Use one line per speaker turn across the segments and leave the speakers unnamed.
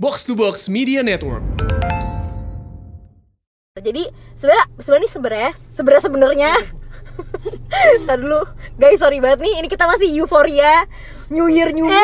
Box to Box Media Network.
Jadi sebenarnya sebenarnya sebenarnya sebenarnya sebenarnya Ntar dulu Guys sorry banget nih Ini kita masih euforia New year new me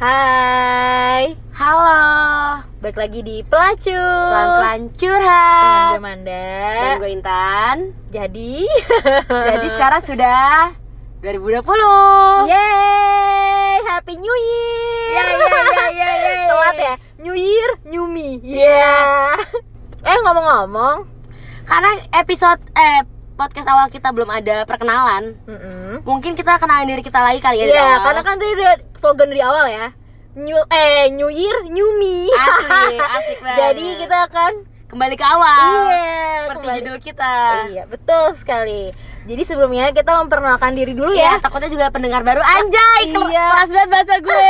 Hai
Halo,
Balik lagi di Pelacur
pelan-pelan
Dengan
curhat.
gue Manda
Dan gue Intan.
Jadi
Jadi
Eh.
sekarang sudah
Oh. Iya.
2020.
Yeay Happy New Year
Ya, ya, ya, ya, ya, ya.
Telat ya New Year new me Yeah Eh ngomong-ngomong
Karena episode eh podcast awal kita belum ada perkenalan.
Mm-mm.
Mungkin kita kenalin diri kita lagi kali ya. di
Iya,
awal.
karena kan tadi udah slogan dari awal ya. New eh New Year, New Me.
Asli, asik banget.
Jadi kita akan
kembali ke awal.
iya,
Seperti
kembali.
judul kita.
Iya, betul sekali. Jadi sebelumnya kita memperkenalkan diri dulu ya.
Iya, takutnya juga pendengar baru anjay. kel-
Iya.
Keras banget bahasa gue.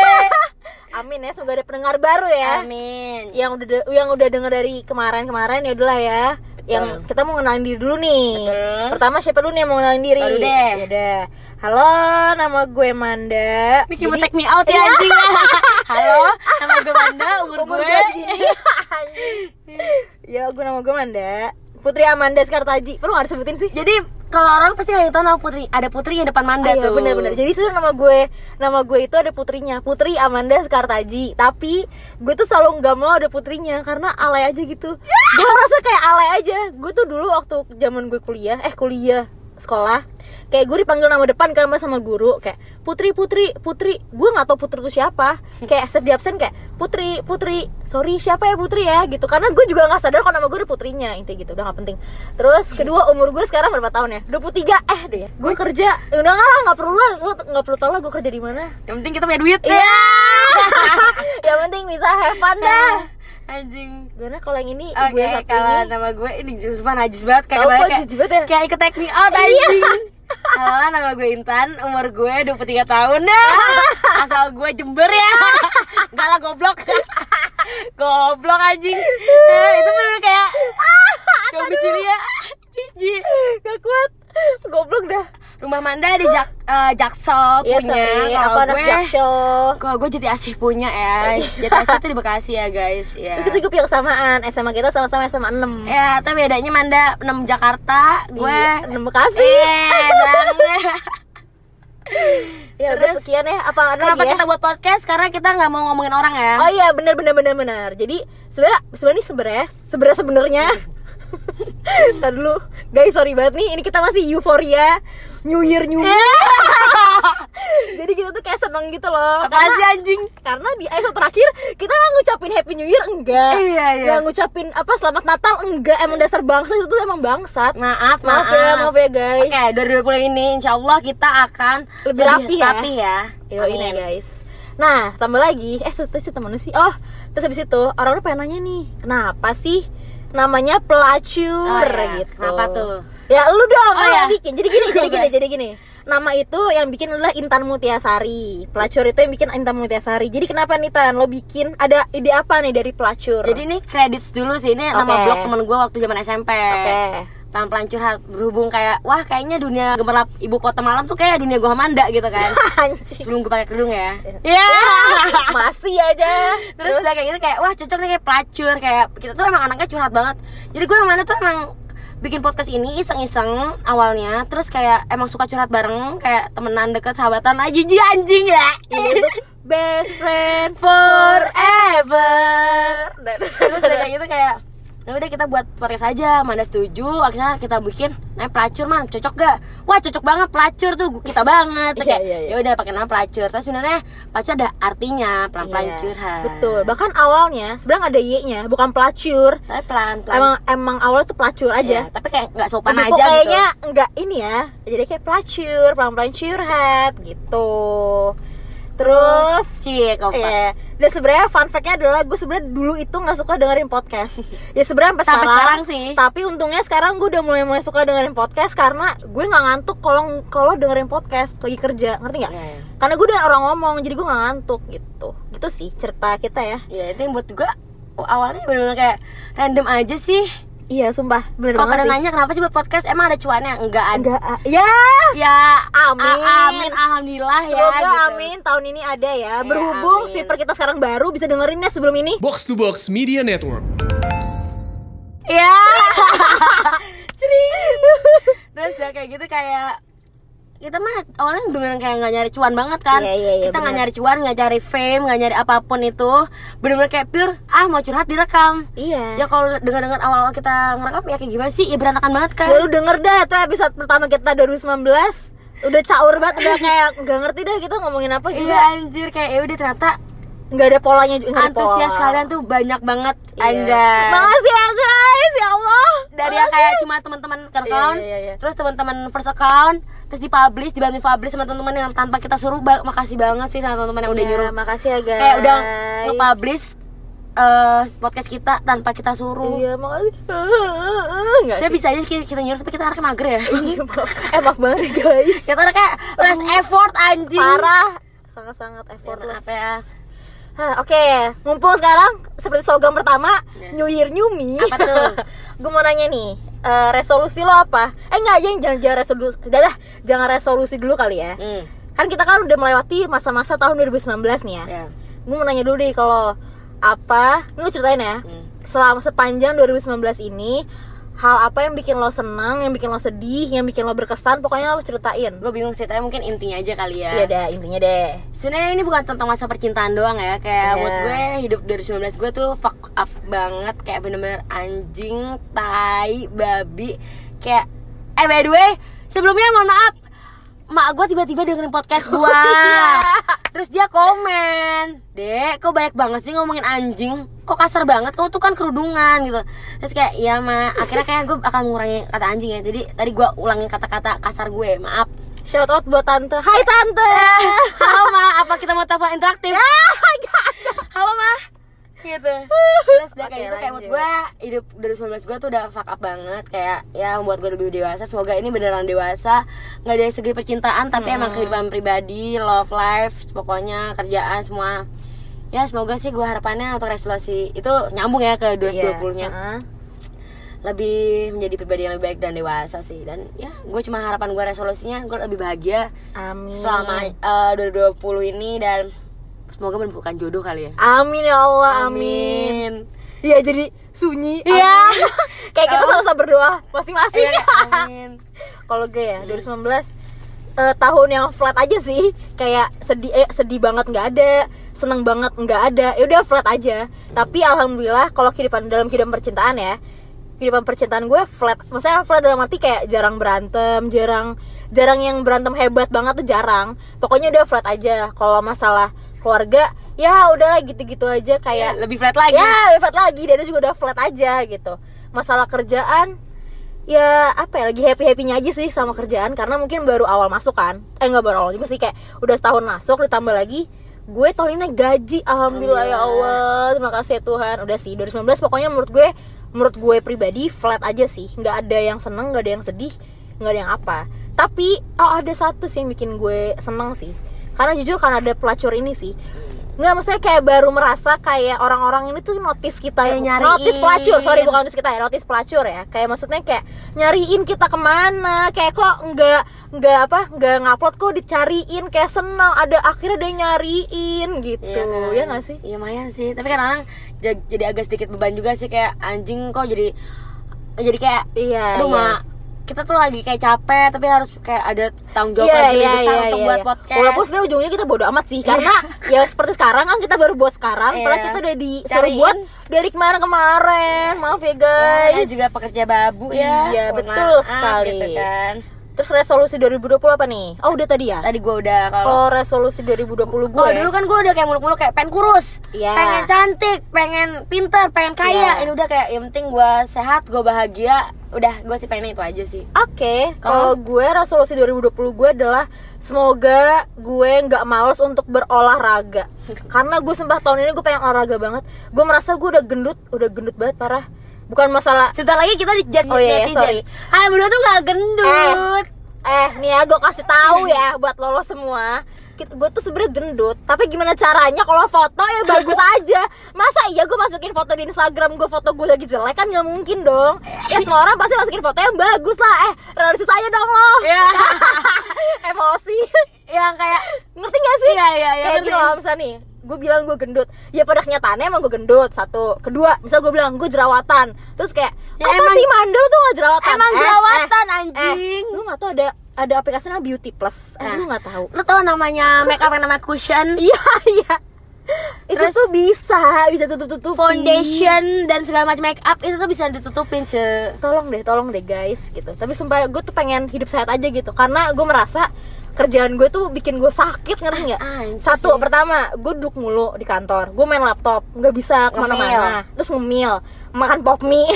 Amin ya, semoga ada pendengar baru ya.
Amin.
Yang udah de- yang udah denger dari kemarin-kemarin ya udahlah ya. Yang kita mau kenalin diri dulu nih.
Betul.
Pertama siapa dulu nih yang mau kenalin diri?
Baru deh.
Yaudah. Halo, nama gue Manda. Iya.
Miki mau take me out ya anjing. Halo, nama gue Wanda, umur
Umur
gue
gue segini. ya gue nama gue Manda Putri Amanda Sekartaji perlu nggak disebutin sih
Jadi kalau orang pasti ada yang tahu nama putri, ada putrinya depan Manda
Ah, iya,
tuh.
bener-bener jadi sebenarnya nama gue nama gue itu ada putrinya Putri Amanda Sekartaji tapi gue tuh selalu nggak mau ada putrinya karena alay aja gitu gue merasa kayak alay aja gue tuh dulu waktu zaman gue kuliah eh kuliah sekolah kayak gue dipanggil nama depan kan sama guru kayak putri putri putri gue nggak tahu putri itu siapa kayak setiap di absen kayak putri putri sorry siapa ya putri ya gitu karena gue juga nggak sadar kalau nama gue ada putrinya inti gitu udah nggak penting terus kedua umur gue sekarang berapa tahun ya 23 eh deh ya gue kerja eh, udah nggak lah nggak perlu lah gue nggak perlu tau lah gue kerja di mana
Yang penting kita punya duit.
iya yang penting bisa have fun dah
Anjing.
gimana kalau yang ini
Iya. Oke,
gue yang Iya. satu
kalau
ini
nama gue ini Jusman najis banget kayak
Tau,
banyak
kok jijik banget ya?
kayak ikut take me out anjing. Halo, nama gue Intan, umur gue 23 tahun.
Ah.
Asal gue Jember ya. Enggak lah goblok. goblok anjing. Eh, itu bener kayak
Ah,
Coba sini ya. Jijik.
gak kuat goblok dah
Rumah Manda di Jak eh, Jaksel
iya
punya.
sorry
Kalau
aku anak
gue-
jaksel
Kalau gue jadi asih punya ya. Jadi asih itu di Bekasi ya guys. Ya.
Terus kita juga punya kesamaan SMA kita sama-sama SMA 6
Ya, tapi bedanya Manda 6 Jakarta, gue
6 Bekasi
Eh, dang.
Ya udah
Terus,
sekian ya Apa ada
Kenapa
lagi ya?
kita buat podcast? Karena kita nggak mau ngomongin orang ya.
Oh iya benar benar benar benar. Jadi sebenarnya sebenarnya sebenarnya sebenarnya sebenarnya Ntar dulu Guys sorry banget nih Ini kita masih euforia New year new me Jadi kita tuh kayak seneng gitu loh
Apa sih
Karena
anjing?
karena di episode terakhir Kita nggak ngucapin happy new year Enggak
Iya, iya.
Nggak ngucapin apa selamat natal Enggak Emang dasar bangsa itu tuh emang bangsat
Maaf,
Maaf ya maaf ya guys
Oke, dari 2020 ini insya Allah kita akan
Lebih rapi ya.
rapi ya.
Doain ya
Amin.
guys Nah tambah lagi Eh terus terus temennya sih Oh terus habis itu Orang-orang pengen nanya nih Kenapa sih Namanya pelacur
Oh, iya.
gitu
Kenapa tuh?
Ya lu dong
Oh,
lu
iya.
yang bikin Jadi gini jadi gini
Gue.
jadi gini Nama itu yang bikin adalah Intan Mutiasari Pelacur itu yang bikin Intan Mutiasari Jadi kenapa nih Tan Lo bikin Ada ide apa nih dari pelacur
Jadi ini kredits dulu sih ini nama
Oke.
blog temen gue waktu zaman SMP.
Oke
eh. pelan-pelan curhat berhubung kayak wah kayaknya dunia gemerlap ibu kota malam tuh kayak dunia gua manda gitu kan
Anjing
sebelum gue pakai kerudung ya ya
Masih aja
terus udah kayak gitu kayak wah cocok nih kayak pelacur kayak kita tuh emang anaknya curhat banget jadi gue emang tuh emang bikin podcast ini iseng-iseng awalnya terus kayak emang suka curhat bareng kayak temenan deket sahabatan aja ji anjing ya
itu Best friend
forever
Terus
terus udah kayak gitu kayak ya udah kita buat podcast aja mana setuju akhirnya kita bikin nah pelacur man cocok gak wah cocok banget pelacur tuh kita banget Terus
Iya,
kayak
iya, iya.
ya udah pakai nama pelacur tapi sebenarnya pelacur ada artinya pelan pelan
Iya,
curhat
Betul. Bahkan awalnya sebenarnya nggak ada y-nya, bukan pelacur.
tapi pelan pelan
Emang emang awalnya tuh pelacur aja.
tapi kayak nggak sopan
Tapi
Iya, aja
kok
gitu
kayaknya nggak ini ya. Jadi kayak pelacur, pelan-pelan curhat gitu. Terus
sih kau Pak.
Iya. Dan sebenarnya fun fact-nya adalah gue sebenarnya dulu itu nggak suka dengerin podcast. Ya sebenarnya sampai,
Sampai
sekarang,
sekarang sih.
Tapi untungnya sekarang gue udah mulai mulai suka dengerin podcast karena gue nggak ngantuk kalau kalau dengerin podcast lagi kerja, ngerti nggak?
Iya.
Karena gue udah orang ngomong, jadi gue nggak ngantuk gitu. Gitu sih cerita kita ya.
Iya, ya itu yang buat gue awalnya bener-bener kayak random aja sih
Iya, sumpah. Bener
Kalau
banget
pada
sih.
nanya kenapa sih buat podcast emang ada cuannya? Enggak ada.
Enggak, ah, ya.
Ya,
Amin.
a- amin alhamdulillah ya.
Semoga
gitu.
amin tahun ini ada ya. Berhubung
amin.
sweeper kita sekarang baru bisa dengerin ya sebelum ini.
Box to Box Media Network.
Ya. Terus udah kayak gitu kayak kita mah awalnya beneran kayak nggak nyari cuan banget kan
Iya, iya, iya,
kita nggak
bener.
nyari cuan nggak cari fame nggak nyari apapun itu bener-bener kayak pure ah mau curhat direkam
Iya.
ya kalau dengar-dengar awal-awal kita ngerekam ya kayak gimana sih ya berantakan banget kan
Ya lu denger dah tuh episode pertama kita 2019 udah caur banget udah kayak nggak ngerti dah kita ngomongin apa
iya
juga
anjir kayak ya udah ternyata
nggak ada polanya juga nggak ada
antusias
pola.
kalian tuh banyak banget
Iya.
anjay
makasih ya guys ya Allah
dari yang kayak cuma teman-teman ke account,
iya, iya.
terus teman-teman first account, terus dipublish, dibantu publish sama teman-teman yang tanpa kita suruh, ba- makasih banget sih sama teman-teman yang udah
udah
nyuruh.
makasih ya guys
Kayak udah nge-publish eh, podcast kita tanpa kita suruh.
iya makasih nggak
Saya bisa aja kita, kita nyuruh tapi kita anaknya mager ya.
Iya, maaf. eh maaf banget ya, guys
kita anaknya less effort anjing.
parah sangat-sangat effortless
Apa ya?
Hah, Oke, mumpung sekarang seperti slogan pertama New Year New Me.
Iya. Apa tuh?
gue mau nanya nih, eh, resolusi lo apa? Eh enggak aja jangan jangan resolusi, udah dah, jangan resolusi dulu kali ya.
Hmm.
Kan kita kan udah melewati masa-masa tahun 2019 nih ya.
Ya.
Gue mau nanya dulu deh kalau apa? Ini lo ceritain ya.
Hmm.
Selama sepanjang 2019 ini hal apa yang bikin lo senang, yang bikin lo sedih, yang bikin lo berkesan, pokoknya lo ceritain.
Gue bingung sih, tapi mungkin intinya aja kali ya.
Iya dah, intinya deh.
sebenarnya ini bukan tentang masa percintaan doang ya kayak
Iya.
menurut gue hidup 2019 gue tuh fuck up banget kayak bener-bener anjing tai babi kayak eh by the way sebelumnya mohon maaf mak gue tiba-tiba dengerin podcast gue terus dia komen dek kok banyak banget sih ngomongin anjing kok kasar banget kau tuh kan kerudungan gitu terus kayak iya ma akhirnya kayak gue akan mengurangi kata anjing ya jadi tadi gue ulangin kata-kata kasar gue maaf
Shout out buat tante. Hai tante.
Halo Ma, apa kita mau telepon interaktif? Halo Ma. Gitu. Terus udah kayak
Oke,
gitu kayak buat
lanjut.
gue hidup 2019 gue tuh udah fuck up banget kayak ya membuat gue lebih dewasa. Semoga ini beneran dewasa. nggak dari segi percintaan tapi emang kehidupan pribadi, love life, pokoknya kerjaan semua. Ya semoga sih gue harapannya untuk resolusi itu nyambung ya ke
Iya.
2020-nya
Heeh.
lebih menjadi pribadi yang lebih baik dan dewasa sih dan ya gue cuma harapan gue resolusinya gue lebih bahagia
Amin.
selama eh, 2020 ini dan semoga menemukan jodoh kali ya.
Amin ya Allah, amin. Iya jadi sunyi. Iya. Kayak kita sama-sama berdoa masing-masing.
Iya, amin.
Kalau gue
Hmm.
ya 2019 eh, tahun yang flat aja sih. Kayak sedih eh, sedih banget nggak ada, seneng banget nggak ada. Ya udah flat aja. Tapi alhamdulillah kalau kehidupan dalam kehidupan percintaan ya kehidupan percintaan gue flat maksudnya flat dalam arti kayak jarang berantem jarang jarang yang berantem hebat banget tuh jarang pokoknya udah flat aja kalau masalah keluarga ya udahlah gitu-gitu aja
Ya,
kayak
lebih flat lagi.
ya udah flat lagi dia juga udah flat aja gitu masalah kerjaan ya apa ya lagi happy happynya aja sih sama kerjaan karena mungkin baru awal masuk kan eh nggak baru awal juga sih kayak udah setahun masuk ditambah lagi gue tahun ini naik gaji alhamdulillah ya Allah terima kasih ya Tuhan udah sih 2019 pokoknya menurut gue menurut gue pribadi flat aja sih nggak ada yang seneng nggak ada yang sedih nggak ada yang apa tapi oh ada satu sih yang bikin gue seneng sih karena jujur karena ada pelacur ini sih nggak maksudnya kayak baru merasa kayak orang-orang ini tuh notice kita
Kayak nyariin.
notice pelacur sorry bukan notice kita ya notice pelacur ya kayak maksudnya kayak nyariin kita kemana kayak kok nggak nggak apa nggak ngupload kok dicariin kayak senang ada akhirnya ada yang nyariin gitu
kan?
ya nggak sih
Iya lumayan sih. Tapi kadang jadi, jadi agak sedikit beban juga sih kayak anjing kok jadi jadi kayak
Iya,
aduh
iya.
Ma, kita tuh lagi kayak capek tapi harus kayak ada tanggung jawab
Iya,
lagi
iya,
besar
iya,
untuk
iya,
buat
iya.
podcast.
Walaupun sebenarnya ujungnya kita bodo amat sih Karena ya seperti sekarang kan kita baru buat sekarang
Iya.
Padahal kita udah disuruh
Cariin.
buat dari kemarin-kemarin Maaf ya guys
Ya, juga pekerja babu ya.
Iya,
Mohon
betul
maaf,
sekali.
gitu kan.
Terus resolusi 2020 apa nih? Oh udah tadi ya?
Tadi gue udah kalau
Kalau resolusi 2020 gue
Kalau dulu kan gue udah kayak muluk-muluk kayak pengen kurus,
ya? Iya.
pengen cantik, pengen pinter, pengen kaya.
Iya.
Ini udah kayak yang penting gue sehat, gue bahagia. Udah gue sih pengen itu aja sih.
Oke, kalau
Kalau-
gue resolusi 2020 gue adalah semoga gue nggak males untuk berolahraga. Karena gue sembah tahun ini gue pengen olahraga banget. Gue merasa gue udah gendut, udah gendut banget parah. Bukan masalah
Sebentar lagi kita di judge
Oh iya, iya,
netizen.
sorry.
Kalian berdua tuh gak gendut.
Eh, eh nih ya gue kasih tahu ya buat lo, lo semua. gue tuh sebenernya gendut tapi gimana caranya kalau foto ya bagus aja masa iya gue masukin foto di Instagram gue foto gue lagi jelek kan nggak mungkin dong ya semua orang pasti masukin foto yang bagus lah eh realistis aja dong lo
ya
emosi yang kayak ngerti gak sih
Iya, iya, iya,
kayak
ngerti.
gini loh misalnya nih gue bilang gue gendut ya pada kenyataannya emang gue gendut satu kedua misal gue bilang gue jerawatan terus kayak
Ya,
apa
emang-
sih mandul tuh gak jerawatan
Emang jerawatan, anjing.
eh, lu gak tau ada ada aplikasi namanya Beauty Plus eh,
Nah.
lu gak tahu
lu tau namanya make up yang namanya cushion
iya iya itu
Terus-
tuh bisa bisa tutup tutup
foundation dan segala macam make up itu tuh bisa ditutupin ce
tolong deh tolong deh guys gitu tapi sumpah gue tuh pengen hidup sehat aja gitu karena gue merasa kerjaan gue tuh bikin gue sakit ngerti nggak
Anjir
satu
Ah, sih.
pertama gue duduk mulu di kantor gue main laptop nggak bisa kemana-mana terus ngemil makan pop mie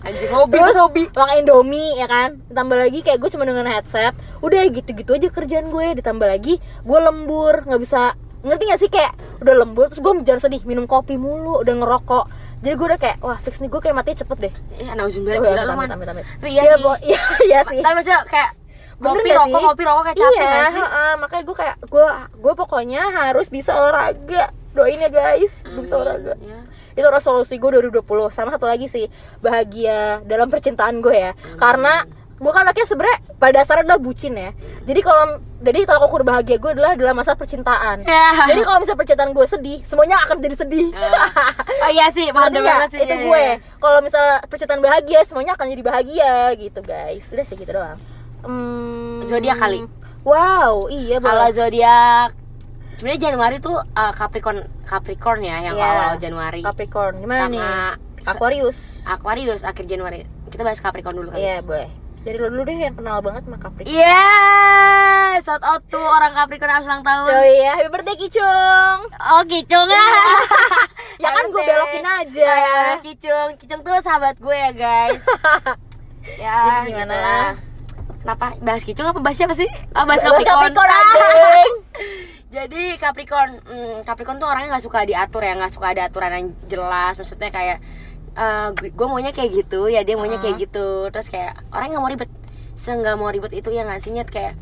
anjing hobi
terus makan indomie ya kan tambah lagi kayak gue cuma dengan headset udah gitu-gitu aja kerjaan gue ditambah lagi gue lembur nggak bisa ngerti gak sih kayak udah lembur terus gue jangan sedih minum kopi mulu udah ngerokok jadi gue udah kayak wah fix nih gue kayak mati cepet deh
ya nauzubillah
Oh,
gila lu
amit,
man
amit, amit, amit.
Tapi iya
Iya,
sih.
bo- iya, iya sih.
tapi maksudnya kayak
Bener
kopi
nggak
rokok
sih?
kopi rokok kayak capek
iya,
nggak sih
heeh, makanya gue kayak gue gue pokoknya harus bisa olahraga. Doain ya guys, gue bisa olahraga.
Ya.
Itu resolusi gue 2020 sama satu lagi sih bahagia dalam percintaan gue ya.
Hmm.
Karena gue kan anaknya sebenernya pada dasarnya adalah bucin ya jadi kalau jadi kalau ukur bahagia gue adalah dalam masa percintaan
Ya.
jadi kalau misalnya percintaan gue sedih semuanya akan jadi sedih
oh iya sih
Ngerti
mantep
nggak?
banget sih
itu
iya,
gue
iya.
kalau misalnya percintaan bahagia semuanya akan jadi bahagia gitu guys udah sih gitu doang hmm,
Zodiak kali.
wow iya
kalau
boleh
zodiak sebenarnya Januari tuh uh, Capricorn Capricorn ya yang
Iya.
awal Januari
Capricorn gimana
Sama-
nih Aquarius
Aquarius akhir Januari kita bahas Capricorn dulu kali
iya boleh dari lo dulu deh yang kenal banget sama Capricorn
Iya, Yes, shout out tuh orang Capricorn yang habis ulang tahun.
oh iya happy birthday Kicung
Oh, Kicung ah.
ya kan gue
Happy
belokin
birthday.
aja
Ah, Kicung, Kicung tuh sahabat gue ya, guys. ya,
Jadi gimana?
gitu lah. Kenapa bahas Kicung apa bahas siapa sih? Oh, bahas
Bahas
Capricorn.
Capricorn,
Ah.
anjing.
Jadi Capricorn, hmm, Capricorn tuh orangnya nggak suka diatur ya, nggak suka ada aturan yang jelas. Maksudnya kayak gue maunya kayak gitu, ya dia maunya
Ah.
kayak gitu. Terus kayak orang nggak mau ribet, seenggak mau ribet itu ya nggak sih Nyet? kayak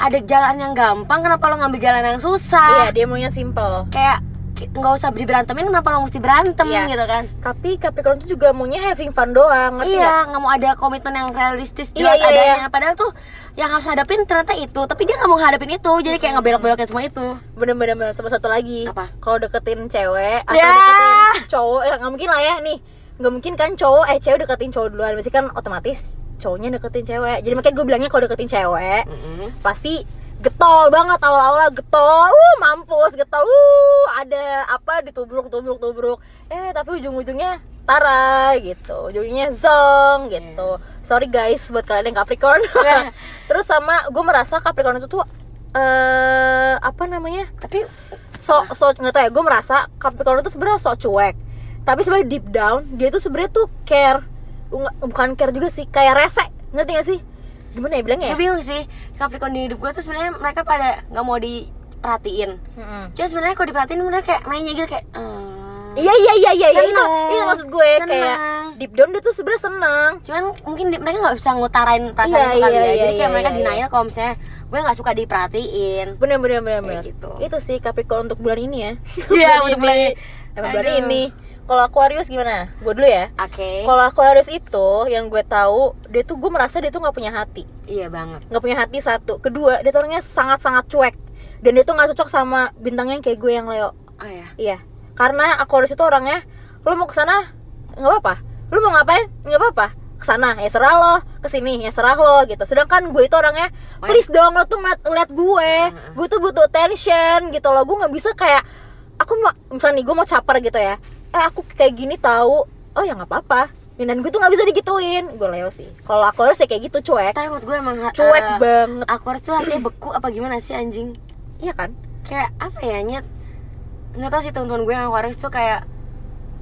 ada jalan yang gampang, kenapa lo ngambil jalan yang
Hmm. iya
susah?
dia maunya simple
Kayak ki- nggak usah beri berantemin, kenapa lo mesti berantem
Iya.
gitu kan?
tapi Capricorn tuh juga maunya having fun doang ngerti nggak?
Iya, nggak mau ada komitmen yang realistis
Iya,
jelas
iya,
adanya.
iya.
Padahal tuh yang harus hadapin ternyata itu, tapi dia nggak mau hadapin itu, jadi kayak ngebelok-belokin semua itu.
bener-bener bener. sama satu lagi
Apa?
kalau deketin cewek atau
Ya.
deketin cowok ya nggak mungkin lah ya nih nggak mungkin kan cowok eh cewek deketin cowok duluan pasti kan otomatis cowoknya deketin cewek jadi makanya gue bilangnya kalau deketin cewek
Mm.
pasti getol banget awal-awal getol uh mampus getol uh ada apa ditubruk tubruk tubruk eh tapi ujung-ujungnya tara gitu ujungnya zong gitu sorry guys buat kalian yang Capricorn terus sama gue merasa Capricorn itu tuh eh apa namanya
Tapi
so so nggak tau ya gue merasa Capricorn itu sebenarnya sok cuek tapi sebenarnya deep down dia tuh sebenarnya tuh care Nggak- bukan care juga sih kayak rese ngerti gak sih gimana ya bilangnya ya
gue bingung sih Capricorn di hidup gue tuh sebenarnya mereka pada nggak mau diperhatiin.
Mm-mm.
Cuma sebenarnya kalau diperhatiin mereka kayak mainnya gitu kayak. "Hmm."
iya iya iya iya iya, itu
Seneng.
itu maksud gue kayak
Seneng.
deep down dia tuh sebenarnya seneng
cuman mungkin di- mereka nggak bisa ngutarain perasaan
Iya,
itu kali
iya,
ya
iya,
jadi kayak
iya,
mereka
iya.
denial kalau misalnya gue nggak suka diperhatiin
bener bener bener, bener.
gitu.
itu sih Capricorn untuk bulan ini ya
Iya, untuk bulan ini.
Emang bulan
Aduh.
ini kalau Aquarius gimana gue dulu ya
oke
kalau Aquarius itu yang gue tahu dia tuh gue merasa dia tuh nggak punya hati
iya banget
nggak punya hati satu kedua dia tuh orangnya sangat sangat cuek dan dia tuh nggak cocok sama bintangnya yang kayak gue yang Leo
oh ya
iya karena Aquarius itu orangnya lu mau kesana nggak apa-apa lu mau ngapain nggak apa-apa kesana ya serah lo kesini ya serah lo gitu sedangkan gue itu orangnya please dong lo tuh ngeliat, ngeliat gue gue tuh butuh attention gitu loh gue nggak bisa kayak aku mau misalnya nih gue mau caper gitu ya eh aku kayak gini tahu oh ya nggak apa-apa dan gue tuh nggak bisa digituin gue Leo sih kalau Aquarius ya kayak gitu cuek
tapi menurut gue emang ha-
Cuek
eh,
banget.
aku harus tuh hatinya beku apa gimana sih anjing
iya kan
kayak apa ya nyet nggak tau sih teman-teman gue yang Aquarius tuh kayak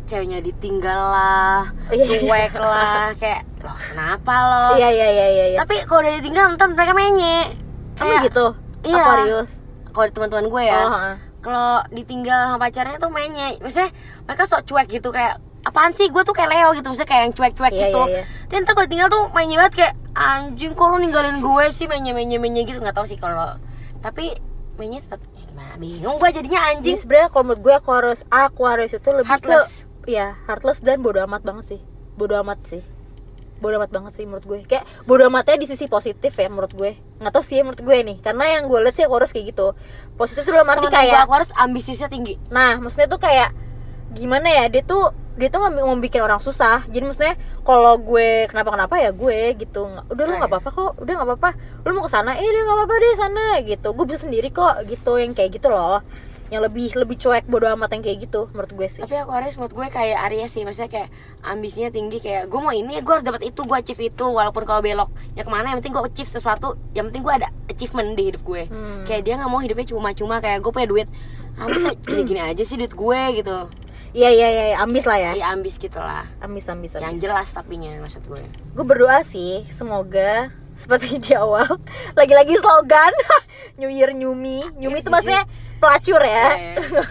ceweknya ditinggal lah
Iya.
cuek lah kayak loh kenapa lo
Iya iya iya iya. iya.
tapi kalau udah ditinggal ntar mereka mainnya
Kamu gitu.
iya.
Aquarius.
kalau di teman-teman gue ya
Oh, heeh.
kalau ditinggal sama pacarnya tuh mainnya maksudnya mereka sok cuek gitu kayak apaan sih gue tuh kayak Leo gitu maksudnya kayak yang cuek-cuek
Iya,
gitu
iya, iya.
dan ntar kalau ditinggal tuh mainnya banget kayak anjing kok lu ninggalin gue sih mainnya mainnya mainnya gitu nggak tahu sih kalau tapi mainnya tetap ya gimana bingung gua jadinya anjing
Jadi sebenarnya kalau menurut gue Aquarius, Aquarius itu lebih
Iya. Heartless.
ke ya heartless dan bodoh amat banget sih. Bodoh amat sih. Bodoh amat banget sih menurut gue. Kayak bodoh amatnya di sisi positif ya menurut gue. Nggak tau sih ya menurut gue nih. Karena yang gue lihat sih Aquarius kayak gitu. Positif tuh dalam arti
Teman-teman
kayak
gua aku harus ambisiusnya tinggi
Nah, maksudnya tuh kayak gimana ya? Dia tuh dia tuh nggak mau bikin orang susah. Jadi maksudnya kalau gue kenapa-kenapa ya gue gitu. Nggak-
Nah,
Udah lu
iya.
nggak apa-apa kok. Udah nggak apa-apa. Lu mau ke sana? Eh, dia nggak apa-apa deh sana gitu. Gue bisa sendiri kok gitu. Yang kayak gitu loh. Yang lebih lebih cuek bodo amat yang kayak gitu menurut gue sih.
tapi aku harus menurut gue kayak Aries sih maksudnya kayak ambisinya tinggi kayak gue mau ini gue harus dapat itu gue achieve itu walaupun kalau belok ya kemana yang penting gue achieve sesuatu yang penting gue ada achievement di hidup gue kayak dia nggak mau hidupnya cuma-cuma kayak gue punya duit apa sih gini-gini aja sih duit gue gitu
Iya iya iya, iya, ambis lah ya.
ya ambis gitulah
Ambis ambis ambis.
yang jelas tapinya maksud gue
Gue berdoa sih semoga seperti di awal lagi-lagi slogan New Year New Me. New Me itu maksudnya pelacur
Iya,
ya.
iya.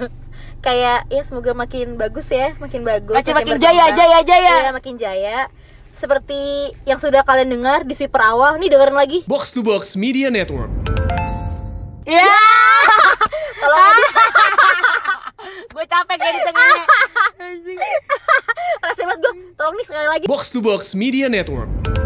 Kayak ya semoga makin bagus ya, makin bagus.
Makin- makin jaya, jaya, jaya.
Iya, makin jaya. Seperti yang sudah kalian dengar di sweeper awal, nih dengerin lagi.
Box to Box Media Network.
ya
Kalau
Ah.
ada
gue capek kayak di tengahnya
rasa banget gue, tolong nih sekali lagi.
Box to Box Media Network.
Ya